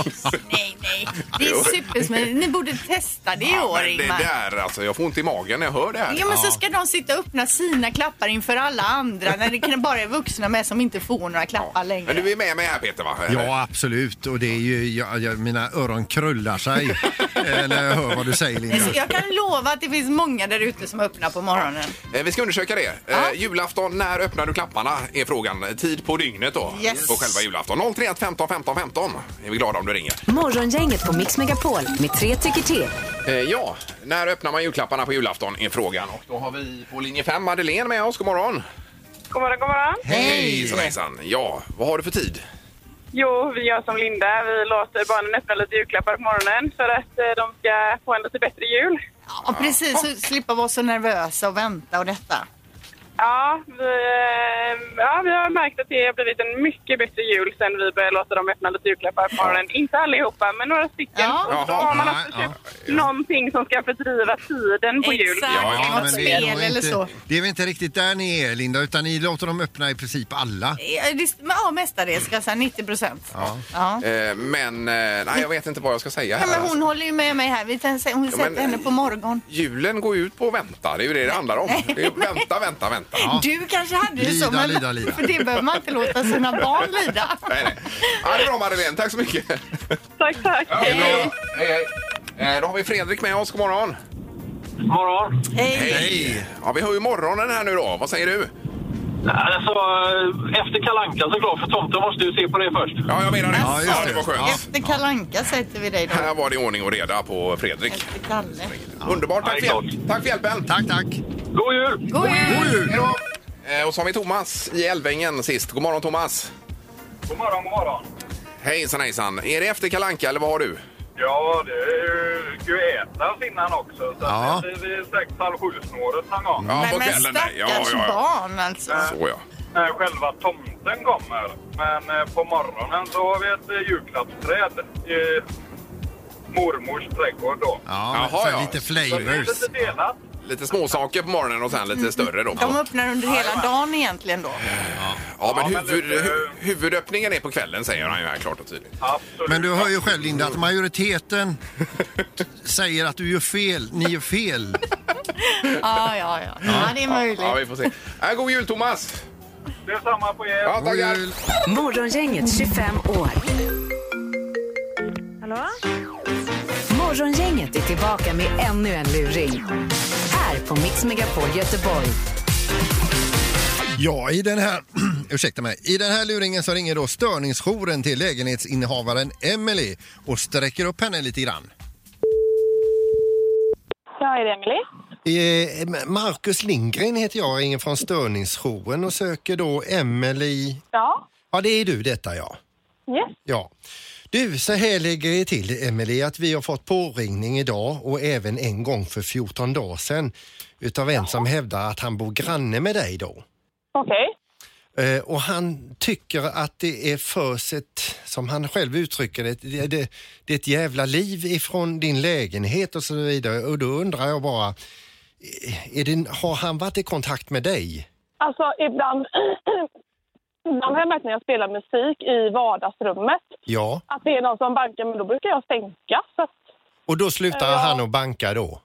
[SPEAKER 3] nej, nej. Det
[SPEAKER 2] Jo.
[SPEAKER 3] är supersmidigt. Ni borde testa det i
[SPEAKER 2] Ja,
[SPEAKER 3] år,
[SPEAKER 2] men det
[SPEAKER 3] Ingmar.
[SPEAKER 2] där alltså, jag får ont i magen när jag hör det här.
[SPEAKER 3] Ja, men så ska de sitta och öppna sina klappar inför alla andra när det kan bara är vuxna med som inte får några klappar
[SPEAKER 2] Ja.
[SPEAKER 3] längre.
[SPEAKER 2] Men du är med mig här Peter va?
[SPEAKER 4] Ja, absolut. Och det är ju, jag, jag, mina öron krullar sig eh, när jag hör vad du säger, Linda.
[SPEAKER 3] Jag kan lova att det finns många där ute som öppnar på morgonen.
[SPEAKER 2] Eh, Vi ska undersöka det. Eh, Julafton, när öppnar du klapparna? Är frågan. Tid på dygnet då.
[SPEAKER 3] Yes.
[SPEAKER 2] På själva julafton. 031 15 15 15. Är vi glada om du ringer.
[SPEAKER 1] Morgongänget på Mix Megapol med tre tycker till.
[SPEAKER 2] Eh, ja, när öppnar man julklapparna på julafton? Är frågan. Och då har vi på linje 5 Madeleine med oss. God morgon.
[SPEAKER 5] God morgon, god morgon.
[SPEAKER 2] Hej! Hejsan. Ja, vad har du för tid?
[SPEAKER 5] Jo, vi gör som Linda. Vi låter barnen öppna lite julklappar på morgonen för att eh, de ska få en lite bättre jul.
[SPEAKER 3] Ja, precis. Så slippa vara så nervösa och vänta och detta.
[SPEAKER 5] Ja vi, eh, ja, vi har märkt att det har blivit en mycket bättre jul sen vi började låta dem öppna lite julklappar på morgonen. Inte allihopa, men några stycken.
[SPEAKER 3] Ja.
[SPEAKER 5] Och då har man också
[SPEAKER 4] Ja,
[SPEAKER 5] köpt någonting som ska fördriva tiden på jul.
[SPEAKER 3] Exakt.
[SPEAKER 2] Ja, ja,
[SPEAKER 3] Något
[SPEAKER 4] men det är
[SPEAKER 3] spel
[SPEAKER 4] nog
[SPEAKER 3] eller så.
[SPEAKER 4] inte, det är väl inte riktigt där ni är, Linda, utan ni låter dem öppna i princip
[SPEAKER 2] Eh.
[SPEAKER 4] alla.
[SPEAKER 3] Ja, det- Ja, mestadels ska jag säga. 90 procent. Ja. Ja.
[SPEAKER 2] Eh, men eh, nej, jag vet inte vad jag ska säga här.
[SPEAKER 3] men hon håller ju med mig här. Vi tänkte- Hon sätter
[SPEAKER 2] men-
[SPEAKER 3] henne på morgon.
[SPEAKER 2] Julen går ju ut på att vänta. Det är ju det det handlar om. Det är ju vänta, vänta, vänta. detta. Ja.
[SPEAKER 3] Du kanske hade det
[SPEAKER 4] Lida,
[SPEAKER 3] så, men
[SPEAKER 4] lida, lida.
[SPEAKER 3] för det behöver man inte låta sina barn lida.
[SPEAKER 2] Nej, nej. Ja, det är bra Madeleine, tack så mycket.
[SPEAKER 5] Tack, tack.
[SPEAKER 2] Ja, det är bra. Hej, hej. Eh, Då har vi Fredrik med oss, god morgon.
[SPEAKER 10] Morgon.
[SPEAKER 3] Hej.
[SPEAKER 2] Hej! Ja, vi har ju morgonen här nu då, vad säger du?
[SPEAKER 10] Alltså, efter kalankan såklart, för tomten måste ju se på det först.
[SPEAKER 2] Ja, jag menar det.
[SPEAKER 4] Ja, just
[SPEAKER 2] det var
[SPEAKER 4] det.
[SPEAKER 2] skönt.
[SPEAKER 3] Efter Kalle Anka sätter vi dig då.
[SPEAKER 2] Här var det ordning och reda på Fredrik.
[SPEAKER 3] Efter Kalle.
[SPEAKER 2] Underbart, tack för,
[SPEAKER 10] Ja, det är
[SPEAKER 2] hjälp. tack för hjälpen.
[SPEAKER 4] Tack, tack.
[SPEAKER 10] God jul!
[SPEAKER 3] God jul!
[SPEAKER 2] Hej då. Eh, Och så har vi Thomas i Älvängen sist. God morgon Thomas!
[SPEAKER 10] God morgon, god morgon.
[SPEAKER 2] Hejsan hejsan! Är det efter Kalanka eller vad har du?
[SPEAKER 10] Ja, det är ju Guetas innan också. Så
[SPEAKER 4] Ja.
[SPEAKER 10] att det blir sex, halv sju-snåret någon gång.
[SPEAKER 2] Ja,
[SPEAKER 3] Nej, men stackars barn alltså.
[SPEAKER 2] Så ja.
[SPEAKER 10] När själva tomten kommer. Men eh, på morgonen så har vi ett eh, julklappsträd i mormors trädgård då.
[SPEAKER 4] Ja,
[SPEAKER 2] Jaha,
[SPEAKER 4] för
[SPEAKER 2] ja.
[SPEAKER 4] lite
[SPEAKER 10] Så det är
[SPEAKER 4] flavors.
[SPEAKER 10] lite delat.
[SPEAKER 2] Lite småsaker på morgonen och sen lite större då.
[SPEAKER 3] De öppnar under hela dagen egentligen då.
[SPEAKER 2] Ja, men
[SPEAKER 10] Ja, men
[SPEAKER 2] huvud,
[SPEAKER 10] lite-
[SPEAKER 2] hu- huvudöppningen är på kvällen säger han ju här klart och tydligt.
[SPEAKER 10] Absolut.
[SPEAKER 4] Men du hör ju själv Linda att majoriteten säger att du gör fel, ni gör fel.
[SPEAKER 3] Ja, ja, ja. Ja, det är
[SPEAKER 2] Ja,
[SPEAKER 3] möjligt.
[SPEAKER 2] vi får se. Äh, god jul Thomas!
[SPEAKER 10] Det är samma på er.
[SPEAKER 2] Ja, tackar!
[SPEAKER 4] jul.
[SPEAKER 1] Morgongänget 25 år.
[SPEAKER 7] Hallå?
[SPEAKER 1] Morgongänget är tillbaka med ännu en luring. Här på Mix Megapol Göteborg.
[SPEAKER 4] Ja, i den här, ursäkta mig, i den här luringen så ringer då störningsjouren till lägenhetsinnehavaren Emily och sträcker upp henne lite grann.
[SPEAKER 5] Ja, är det Emelie?
[SPEAKER 4] Eh, Marcus Lindgren heter jag ringer från störningsjouren och söker då Emily.
[SPEAKER 5] Ja.
[SPEAKER 4] Ja, det är du detta ja.
[SPEAKER 5] Yes.
[SPEAKER 4] Ja. Du, så här lägger det till, Emily, att vi har fått påringning idag och även en gång för 14 dagar sedan utav en som hävdar att han bor granne med dig då.
[SPEAKER 5] Okej.
[SPEAKER 4] Eh, Och han tycker att det är förs ett, som han själv uttrycker det, det, det, det är ett jävla liv ifrån din lägenhet och så vidare. Och då undrar jag bara, eh, är det, har han varit i kontakt med dig?
[SPEAKER 5] Alltså, ibland... Ibland har jag märkt när jag spelar musik i vardagsrummet
[SPEAKER 4] Ja.
[SPEAKER 5] att det är någon som bankar, men då brukar jag sänka. Så att,
[SPEAKER 4] Och då slutar
[SPEAKER 5] Ja.
[SPEAKER 4] han att banka då?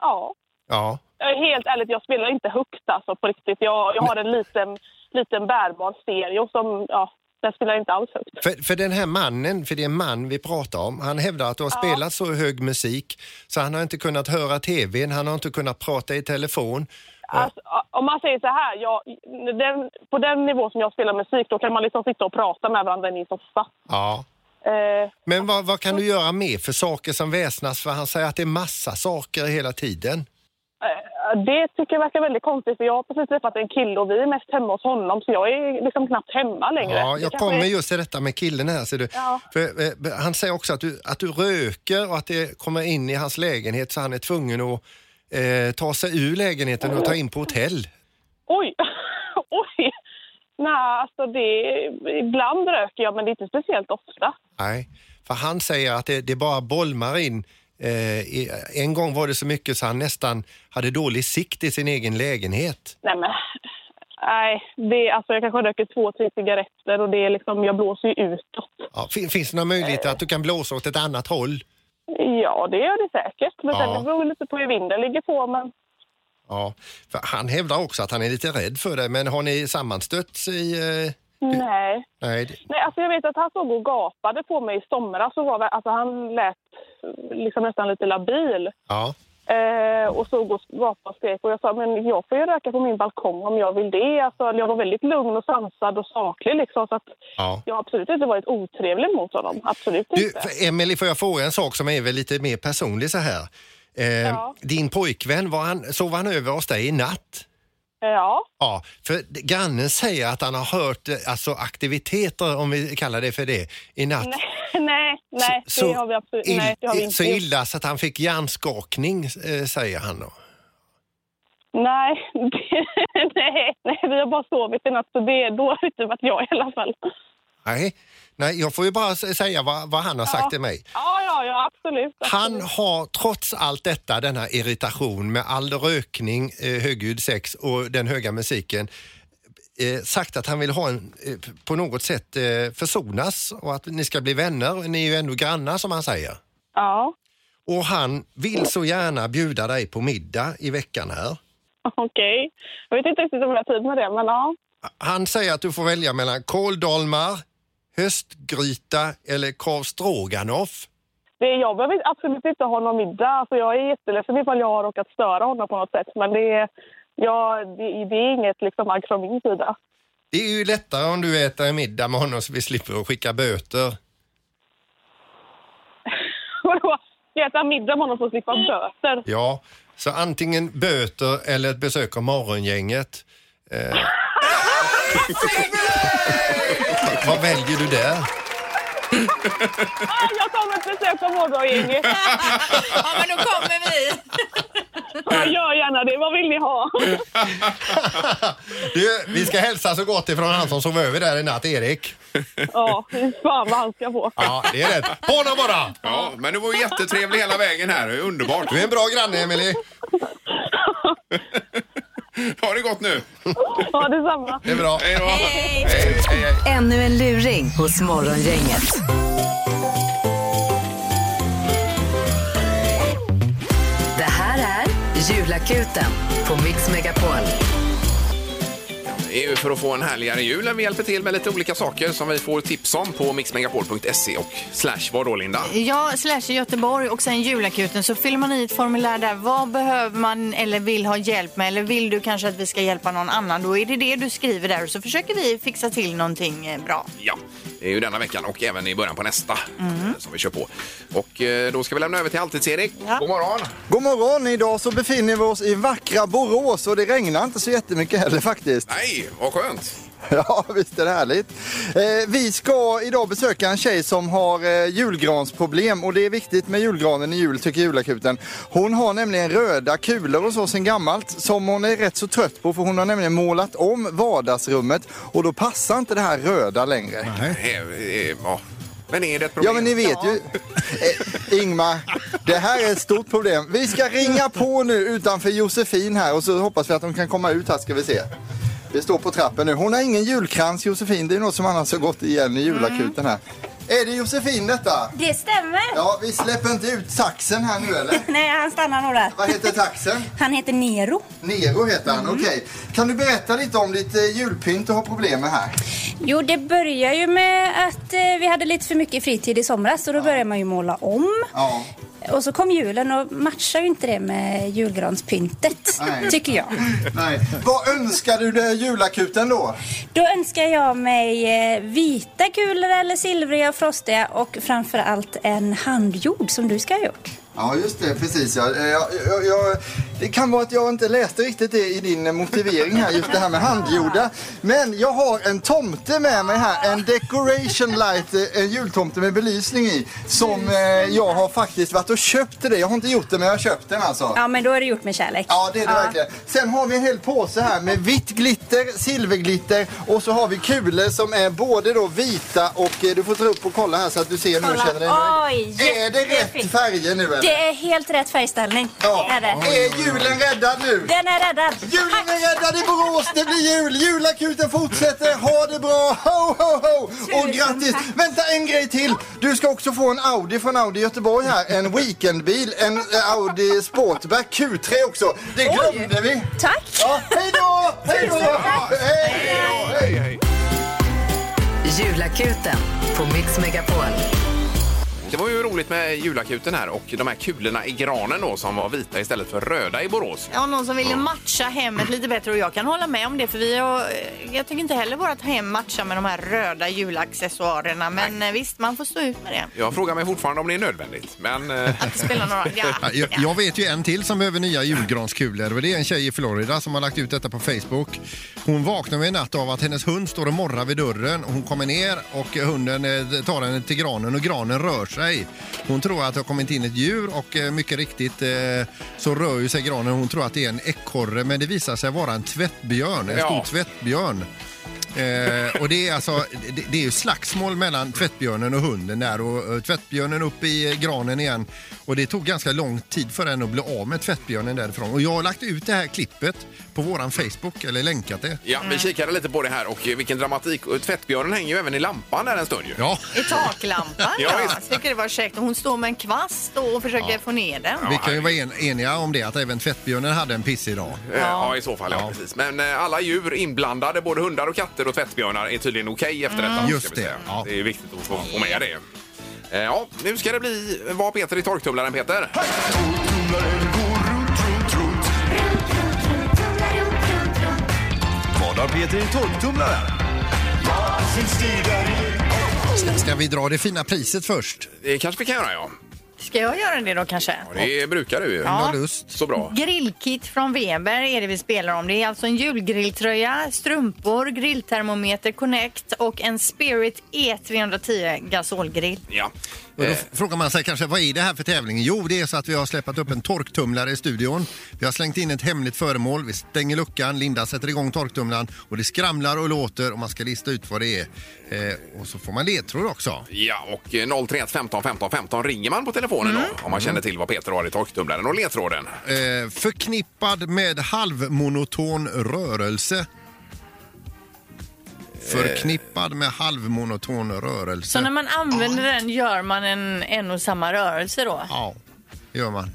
[SPEAKER 5] ja.
[SPEAKER 4] Ja.
[SPEAKER 5] Jag är Helt ärligt, jag spelar inte högt alltså, på riktigt. Jag, jag har en liten, liten bärbar stereo som... Ja, den spelar inte alls högt.
[SPEAKER 4] För, för den här mannen, för det är en man vi pratar om, han hävdar att du har spelat så hög musik så han har inte kunnat höra tvn, han har inte kunnat prata i telefon.
[SPEAKER 5] Alltså, om man säger så här, jag, den, på den nivå som jag spelar musik då kan man liksom sitta och prata med varandra i en soffa.
[SPEAKER 4] Ja.
[SPEAKER 5] Eh,
[SPEAKER 4] Men vad, vad kan du göra mer för saker som väsnas? För han säger att det är massa saker hela tiden.
[SPEAKER 5] eh, det tycker jag verkar väldigt konstigt för jag har precis träffat en kille och vi är mest hemma hos honom så jag är liksom knappt hemma längre.
[SPEAKER 4] Ja,
[SPEAKER 5] Det
[SPEAKER 4] jag
[SPEAKER 5] kanske
[SPEAKER 4] kommer
[SPEAKER 5] är-
[SPEAKER 4] just till detta med killen här. Ser du.
[SPEAKER 5] Ja.
[SPEAKER 4] För, eh, han säger också att du, att du röker och att det kommer in i hans lägenhet så han är tvungen att eh, ta sig ur lägenheten och ta in på hotell.
[SPEAKER 5] Oj! Oj! Nej, alltså det... Ibland röker jag men det är inte speciellt ofta.
[SPEAKER 4] Nej, för han säger att det, det bara bolmar in. Eh, i, en gång var det så mycket så han nästan hade dålig sikt i sin egen lägenhet.
[SPEAKER 5] Nej men... Nej, det, alltså jag kanske röker två, tre cigaretter och det är liksom, jag blåser ju utåt.
[SPEAKER 4] Ja, fin, finns det några möjligheter att du kan blåsa åt ett annat håll?
[SPEAKER 5] Ja, det gör det säkert. Men sen
[SPEAKER 4] Ja.
[SPEAKER 5] det beror lite på hur vinden ligger på. Men
[SPEAKER 4] Ja, för han hävdar också att han är lite rädd för det, men har ni sammanstötts i... Eh,
[SPEAKER 5] nej.
[SPEAKER 4] nej, det-
[SPEAKER 5] Nej, alltså jag vet att han såg och gapade på mig i somras. Och var, alltså han lät liksom nästan lite labil
[SPEAKER 4] ja.
[SPEAKER 5] eh, och såg och gapade och skrek. Och jag sa men jag får ju röka på min balkong om jag vill det. Alltså, jag var väldigt lugn och sansad och saklig. Liksom, så att
[SPEAKER 4] Ja.
[SPEAKER 5] Jag har absolut inte varit otrevlig mot honom. Absolut
[SPEAKER 4] Du,
[SPEAKER 5] inte.
[SPEAKER 4] för- Emily, får jag fråga en sak som är väl lite mer personlig så här? Eh,
[SPEAKER 5] Ja.
[SPEAKER 4] Din pojkvän, var han, sov han över hos dig i natt?
[SPEAKER 5] Ja,
[SPEAKER 4] Ja, för d- grannen säger att han har hört eh, alltså, aktiviteter, om vi kallar det för det, i natt.
[SPEAKER 5] nej, nej,
[SPEAKER 4] Så- så
[SPEAKER 5] det har vi absolut
[SPEAKER 4] ill-
[SPEAKER 5] nej, det har vi
[SPEAKER 4] Så
[SPEAKER 5] inte gjort.
[SPEAKER 4] illa så att han fick hjärnskakning, eh, säger han då.
[SPEAKER 5] Nej, det, nej, nej, vi har bara sovit i natt så det, då har det inte varit jag i alla fall.
[SPEAKER 4] Nej, nej jag får ju bara s- säga vad, vad han har sagt till mig.
[SPEAKER 5] Ja, ja, ja, absolut.
[SPEAKER 4] Han
[SPEAKER 5] absolut.
[SPEAKER 4] har trots allt detta, denna irritation med all rökning, eh, högljudd sex och den höga musiken, eh, sagt att han vill ha en, eh, p- på något sätt eh, försonas och att ni ska bli vänner. Ni är ju ändå grannar som han säger.
[SPEAKER 5] Ja,
[SPEAKER 4] Och han vill så gärna bjuda dig på middag i veckan här.
[SPEAKER 11] Okej. Jag vet inte riktigt om jag har tid med det, men ja.
[SPEAKER 4] Han säger att du får välja mellan kåldolmar, höstgryta eller korv stroganoff.
[SPEAKER 11] Det, jag behöver inte- absolut inte ha någon middag,
[SPEAKER 5] Alltså,
[SPEAKER 11] så jag är jätteledsen ifall jag har råkat störa honom på något sätt. Men det, ja, det, det är inget liksom, agg från min sida.
[SPEAKER 4] Det är ju lättare om du äter en middag med honom så vi slipper att skicka böter.
[SPEAKER 11] Vadå? Ska jag äta middag med honom för att slippa böter?
[SPEAKER 4] Ja, så antingen böter eller ett besök av morgongänget. Eh. Vad väljer du där?
[SPEAKER 11] Ah, jag tar mig ett besök av morgongänget. ja, men då kommer vi. ja, gör gärna det. Vad vill ni ha?
[SPEAKER 4] Du, vi ska hälsa så gott ifrån han som sov över där i natt, Erik.
[SPEAKER 11] Ja, fy fan vad han ska få.
[SPEAKER 4] Ja, det är rätt. På honom bara!
[SPEAKER 2] Ja, men du var ju jättetrevlig hela vägen här. Det är Underbart.
[SPEAKER 4] Du är en bra granne, Emily.
[SPEAKER 2] ha det gott nu.
[SPEAKER 11] Ja, detsamma.
[SPEAKER 4] Det är bra.
[SPEAKER 2] Hej då.
[SPEAKER 1] Hej.
[SPEAKER 2] Hej, hej, hej.
[SPEAKER 1] Ännu en luring hos Morgongänget. Det här är Julakuten på Mix Megapol.
[SPEAKER 2] Det är ju för att få en härligare jul när vi hjälper till med lite olika saker som vi får tips om på mixmegapol.se och slash vad då Linda?
[SPEAKER 3] Ja, slash i Göteborg och sen julakuten så fyller man i ett formulär där. Vad behöver man eller vill ha hjälp med? Eller vill du kanske att vi ska hjälpa någon annan? Då är det det du skriver där och så försöker vi fixa till någonting eh, bra.
[SPEAKER 2] Ja, det är ju denna veckan och även i början på nästa eh, som vi kör på. Och eh, då ska vi lämna över till Halvtids-Erik. God morgon!
[SPEAKER 8] God morgon! Idag så befinner vi oss i vackra Borås och det regnar inte så jättemycket heller faktiskt.
[SPEAKER 2] Nej, vad skönt!
[SPEAKER 8] Ja, visst är det härligt. Eh, vi ska idag besöka en tjej som har eh, julgransproblem och det är viktigt med julgranen i jul tycker julakuten. Hon har nämligen röda kulor och så sen gammalt som hon är rätt så trött på för hon har nämligen målat om vardagsrummet och då passar inte det här röda längre.
[SPEAKER 2] Eh, eh, ja. Men är det ett
[SPEAKER 8] Ja
[SPEAKER 2] problem?
[SPEAKER 8] men ni vet ju, eh, Ingmar, det här är ett stort problem. Vi ska ringa på nu utanför Josefin här och så hoppas vi att de kan komma ut här ska vi se. Vi står på trappen nu. Hon har ingen julkrans Josefin, det är något som annars har gått igen i julakuten här. Är det Josefin detta?
[SPEAKER 12] Det stämmer.
[SPEAKER 8] Ja, vi släpper inte ut saxen här nu eller?
[SPEAKER 12] Nej, han stannar nog där.
[SPEAKER 8] Vad heter taxen?
[SPEAKER 12] Han heter Nero. Mm.
[SPEAKER 8] Nero heter han, okej. Kan du berätta lite om ditt eh, julpynt du har problem med här?
[SPEAKER 12] Jo, det börjar ju med att eh, vi hade lite för mycket fritid i somras och då började man ju måla om.
[SPEAKER 8] Ja.
[SPEAKER 12] Och så kom julen och matchar ju inte det med julgranspyntet,
[SPEAKER 8] Nej.
[SPEAKER 12] tycker jag.
[SPEAKER 8] Nej. Vad önskar du dig julakuten då?
[SPEAKER 12] Då önskar jag mig eh, vita kulor eller silvriga och frostiga och framför allt en handgjord som du ska ha gjort.
[SPEAKER 8] Ja, just det. Precis. Ja. Eh, Jag, jag, jag, det kan vara att jag inte läste riktigt det i din eh, motivering här, just det här med handgjorda. Men jag har en tomte med mig här, en decoration light, eh, en jultomte med belysning i, som eh, jag har faktiskt varit och köpt till dig. Jag har inte gjort det, men jag har köpt den alltså.
[SPEAKER 12] Ja, men då är det gjort med kärlek.
[SPEAKER 8] Ja, det är det verkligen. Sen har vi en hel påse här med vitt glitter, silverglitter och så har vi kulor som är både då vita och eh, du får dra upp och kolla här så att du ser nu och
[SPEAKER 12] Kolla.
[SPEAKER 8] känner dig
[SPEAKER 12] Oj,
[SPEAKER 8] Är det rätt
[SPEAKER 12] jättefint.
[SPEAKER 8] färger nu eller?
[SPEAKER 12] Det är helt rätt färgställning.
[SPEAKER 8] Ja.
[SPEAKER 12] Är det.
[SPEAKER 8] Är julen räddad nu?
[SPEAKER 12] Den är räddad.
[SPEAKER 8] Julen är räddad i Borås, det blir jul! Julakuten fortsätter, ha det bra! Ho, ho, ho! Och
[SPEAKER 12] Tusen
[SPEAKER 8] grattis!
[SPEAKER 12] tack.
[SPEAKER 8] Vänta, en grej till! Du ska också få en Audi från Audi Göteborg här, en weekendbil, en eh, Audi Sportback Q3 också. Det glömde vi!
[SPEAKER 12] Tack!
[SPEAKER 8] Ja, hej då! Hej då!
[SPEAKER 12] Tusen tack.
[SPEAKER 8] Hej!
[SPEAKER 2] Hej, hej.
[SPEAKER 1] Julakuten på Mix Megapol.
[SPEAKER 2] Det var ju roligt med julakuten här och de här kulorna i granen då som var vita istället för röda i Borås.
[SPEAKER 3] Ja, någon som ville matcha hemmet lite bättre och jag kan hålla med om det för vi har, eh, jag tycker inte heller vårt hem matchar med de här röda julaccessoarerna men eh, visst, man får stå ut med det.
[SPEAKER 2] Jag frågar mig fortfarande om det är nödvändigt, men... eh, Att
[SPEAKER 3] det spelar någon roll, ja.
[SPEAKER 4] Ja, Jag, jag vet ju en till som behöver nya julgranskulor och det är en tjej i Florida som har lagt ut detta på Facebook. Hon vaknar en natt av att hennes hund står och morrar vid dörren. Hon kommer ner och hunden eh, tar henne till granen och granen rör sig. Hon tror att det har kommit in ett djur och eh, mycket riktigt eh, så rör ju sig granen. Hon tror att det är en ekorre men det visar sig vara en tvättbjörn, en
[SPEAKER 2] Ja.
[SPEAKER 4] stor tvättbjörn. Eh, och det är alltså, det, det är ju slagsmål mellan tvättbjörnen och hunden där och eh, tvättbjörnen upp i eh, granen igen. Och det tog ganska lång tid för den att bli av med tvättbjörnen därifrån. Och jag har lagt ut det här klippet på våran Facebook, eller länkat det.
[SPEAKER 2] Ja, vi kikade lite på det här och eh, vilken dramatik. Och Tvättbjörnen hänger ju även i lampan där en stund ju.
[SPEAKER 4] Ja.
[SPEAKER 3] I taklampan,
[SPEAKER 2] Ja,
[SPEAKER 3] ja.
[SPEAKER 2] visst.
[SPEAKER 3] Jag tycker det var käckt. Och Hon står med en kvast då och försöker få ner den.
[SPEAKER 4] Vi kan ju vara en, eniga om det att även tvättbjörnen hade en pissig dag.
[SPEAKER 2] Ja. Eh, ja, i så fall. Ja. precis. Men eh, alla djur inblandade, både hundar och katter och tvättbjörnar, är tydligen okej efter detta.
[SPEAKER 4] Just
[SPEAKER 2] ska vi säga. Det är viktigt att få, få med det. Eh, Ja, nu ska det bli vad Peter i torktumlaren, Peter.
[SPEAKER 13] Vad har Peter i torktumlaren?
[SPEAKER 4] Ska- Ska vi dra det fina priset först?
[SPEAKER 2] Det kanske vi kan göra, ja.
[SPEAKER 3] Ska jag göra det då kanske?
[SPEAKER 2] Det brukar du ju.
[SPEAKER 3] Ja. Mm. Om du har
[SPEAKER 4] lust.
[SPEAKER 2] Så bra.
[SPEAKER 3] Grillkit från Weber är det vi spelar om. Det är alltså en julgrilltröja, strumpor, grilltermometer Connect och en Spirit E310 gasolgrill.
[SPEAKER 2] Ja.
[SPEAKER 4] Och då f- frågar man sig kanske vad är det här för tävling? Jo, det är så att vi har släppt upp en torktumlare i studion. Vi har slängt in ett hemligt föremål, vi stänger luckan, Linda sätter igång torktumlaren och det skramlar och låter och man ska lista ut vad det är. Eh, och så får man ledtråd också.
[SPEAKER 2] Ja, och eh, 031 15 15 15 ringer man på telefonen då, om man känner till vad Peter har i torktumlaren och ledtråden.
[SPEAKER 4] Eh, förknippad med halvmonoton rörelse. Förknippad med halvmonoton rörelse.
[SPEAKER 3] Så när man använder den gör man en, en och samma rörelse då?
[SPEAKER 4] Ja, det gör man.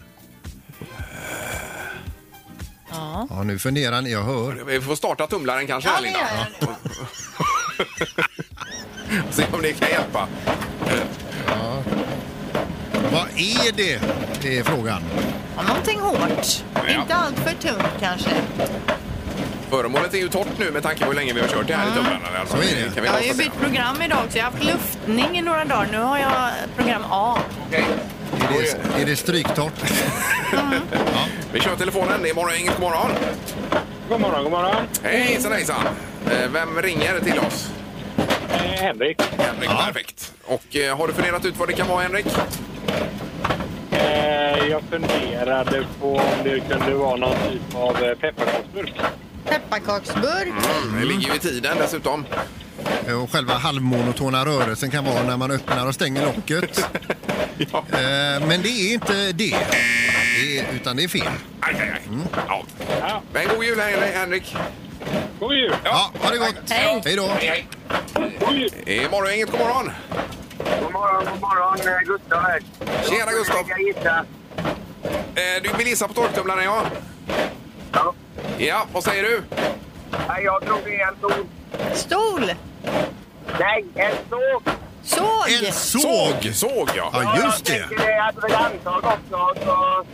[SPEAKER 3] Ja.
[SPEAKER 4] Ja, nu funderar ni, jag hör.
[SPEAKER 2] Vi får starta tumlaren kanske här, Linda. Se om det kan hjälpa.
[SPEAKER 4] Ja. Vad är det? Det är frågan.
[SPEAKER 3] Ja, någonting hårt. Inte allt för tungt kanske.
[SPEAKER 2] Föremålet är ju torrt nu med tanke på hur länge vi har kört det här i tumlaren. Alltså,
[SPEAKER 4] Så är det.
[SPEAKER 2] Kan vi
[SPEAKER 3] Jag har ju
[SPEAKER 2] konstatera.
[SPEAKER 3] bytt program idag så jag har haft luftning i några dagar. Nu har jag program A.
[SPEAKER 4] Är det, är det stryktort?
[SPEAKER 2] Ja. Vi kör telefonen. Det är morgon, inget morgon.
[SPEAKER 14] God morgon, god morgon.
[SPEAKER 2] Hejsan, hejsan. Eh, Vem ringer till oss?
[SPEAKER 14] Henrik.
[SPEAKER 2] Henrik, perfekt. Och eh, har du funderat ut vad det kan vara, Henrik?
[SPEAKER 14] Eh, jag funderade på om det kunde vara någon typ av eh, pepparkaksburk.
[SPEAKER 3] Pepparkaksburk.
[SPEAKER 2] Det ligger ju i tiden dessutom.
[SPEAKER 4] Eh, Och själva halvmonotona rörelsen kan vara när man öppnar och stänger locket. Eh, Men det är inte det. det är, utan det är fel.
[SPEAKER 2] Aj, aj, aj. Ja. Men god jul, Hen- Henrik.
[SPEAKER 14] God jul.
[SPEAKER 4] Ja, ha det gott.
[SPEAKER 2] Hej.
[SPEAKER 4] Hej då.
[SPEAKER 2] Hej, hej. Eh, morgon, inget god morgon.
[SPEAKER 15] God morgon, god morgon. eh, Gustav här.
[SPEAKER 2] Tjena, Gustav.
[SPEAKER 15] Jag gissa.
[SPEAKER 2] Eh, Du vill gissa på torktumlaren, ja?
[SPEAKER 15] Ja.
[SPEAKER 2] Ja, vad säger du?
[SPEAKER 15] Nej, jag tror det är en stor...
[SPEAKER 3] Stol!
[SPEAKER 15] Nej, en såg.
[SPEAKER 3] Såg!
[SPEAKER 4] En såg!
[SPEAKER 2] Såg, ja.
[SPEAKER 15] Jag tänker det hade väl antag också. Så...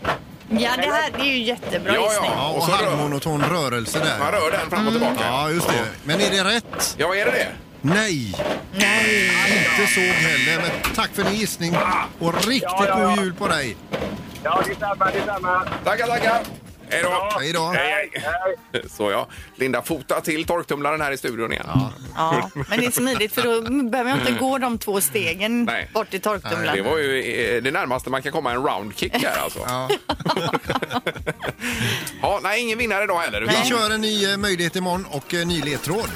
[SPEAKER 3] Ja, det här det är ju jättebra gissning.
[SPEAKER 4] Ja, och Mm. halvmonoton rörelse där.
[SPEAKER 2] Man rör den fram och tillbaka.
[SPEAKER 4] Ja, just det. Men är det rätt?
[SPEAKER 2] Ja, är det det?
[SPEAKER 4] Nej!
[SPEAKER 3] Nej!
[SPEAKER 4] Inte såg heller, men tack för din gissning. Och riktigt
[SPEAKER 15] Ja, ja, ja.
[SPEAKER 4] god jul på dig!
[SPEAKER 15] Ja, detsamma, detsamma.
[SPEAKER 2] Tackar, tackar. Hej då.
[SPEAKER 4] Hej då.
[SPEAKER 2] Hej, hej. Så ja, Linda fota till torktumlaren här i studion igen.
[SPEAKER 3] Ja, men det är smidigt för då behöver jag inte gå de två stegen bort till torktumlaren.
[SPEAKER 2] Mm. Det var ju eh, det närmaste man kan komma en roundkick här alltså.
[SPEAKER 4] Ja.
[SPEAKER 2] ja, nej, ingen vinnare idag heller. utan-
[SPEAKER 4] Vi kör en ny eh, möjlighet imorgon och eh, ny ledtråd.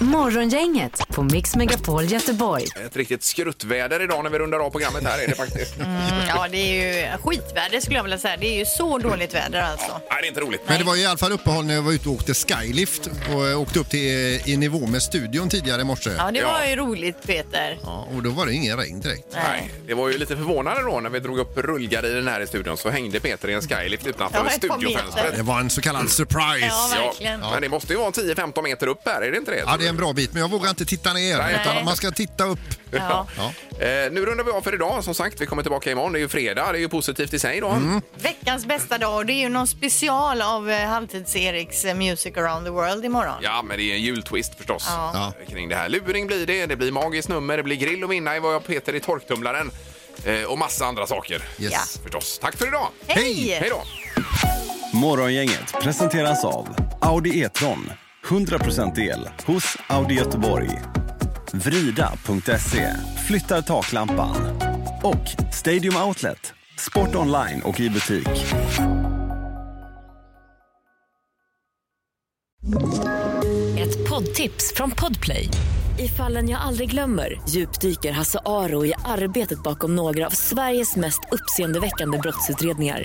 [SPEAKER 1] Morgongänget på Mix Megapol Göteborg.
[SPEAKER 2] Ett riktigt skruttväder idag när vi rundar av programmet här är det faktiskt.
[SPEAKER 3] Mm, ja, det är ju skitväder skulle jag vilja säga. Det är ju så dåligt väder alltså.
[SPEAKER 2] Nej, det är inte roligt.
[SPEAKER 4] Men det var i alla fall uppehåll när jag var ute och åkte skylift och eh, åkte upp till eh, i nivå med studion tidigare i morse.
[SPEAKER 3] Ja, det var ju roligt Peter.
[SPEAKER 4] Ja, och då var det ingen regn direkt.
[SPEAKER 2] Nej, det var ju lite förvånande då när vi drog upp rullgardinen här i studion så hängde Peter i en skylift utanför
[SPEAKER 3] Ja, ett par meter.
[SPEAKER 2] studiofönstret.
[SPEAKER 4] Det var en så kallad surprise.
[SPEAKER 3] Ja, verkligen.
[SPEAKER 2] Men det måste ju vara 10-15 meter upp här, är det inte det?
[SPEAKER 4] Ja, det är en bra bit, men jag vågar inte titta ner.
[SPEAKER 2] Nej.
[SPEAKER 4] Utan man ska titta upp.
[SPEAKER 2] Ja. Eh, nu rundar vi av för idag. Som sagt, vi kommer tillbaka imorgon. Det är ju fredag. Det är ju positivt i sig då.
[SPEAKER 3] Mm. Veckans bästa dag och det är ju någon special av eh, Halvtids-Eriks eh, Music around the world imorgon.
[SPEAKER 2] Ja, men det är en jultwist förstås. eh,
[SPEAKER 3] Ja.
[SPEAKER 2] Kring det här. Luring blir det, det blir magiskt nummer, det blir grill att vinna i vad jag Peter i torktumlaren. Eh, och massa andra saker.
[SPEAKER 13] Yes. Ja.
[SPEAKER 2] Förstås. Tack för idag!
[SPEAKER 13] Hej!
[SPEAKER 2] Hej då!
[SPEAKER 13] Morgongänget presenteras av Audi E-tron. 100% el hos Audi Göteborg. Vrida.se flyttar taklampan. Och Stadium Outlet. Sport online och i butik.
[SPEAKER 1] Ett poddtips från Podplay. I fallen jag aldrig glömmer djupdyker Hasse Aro i arbetet bakom några av Sveriges mest uppseendeväckande brottsutredningar.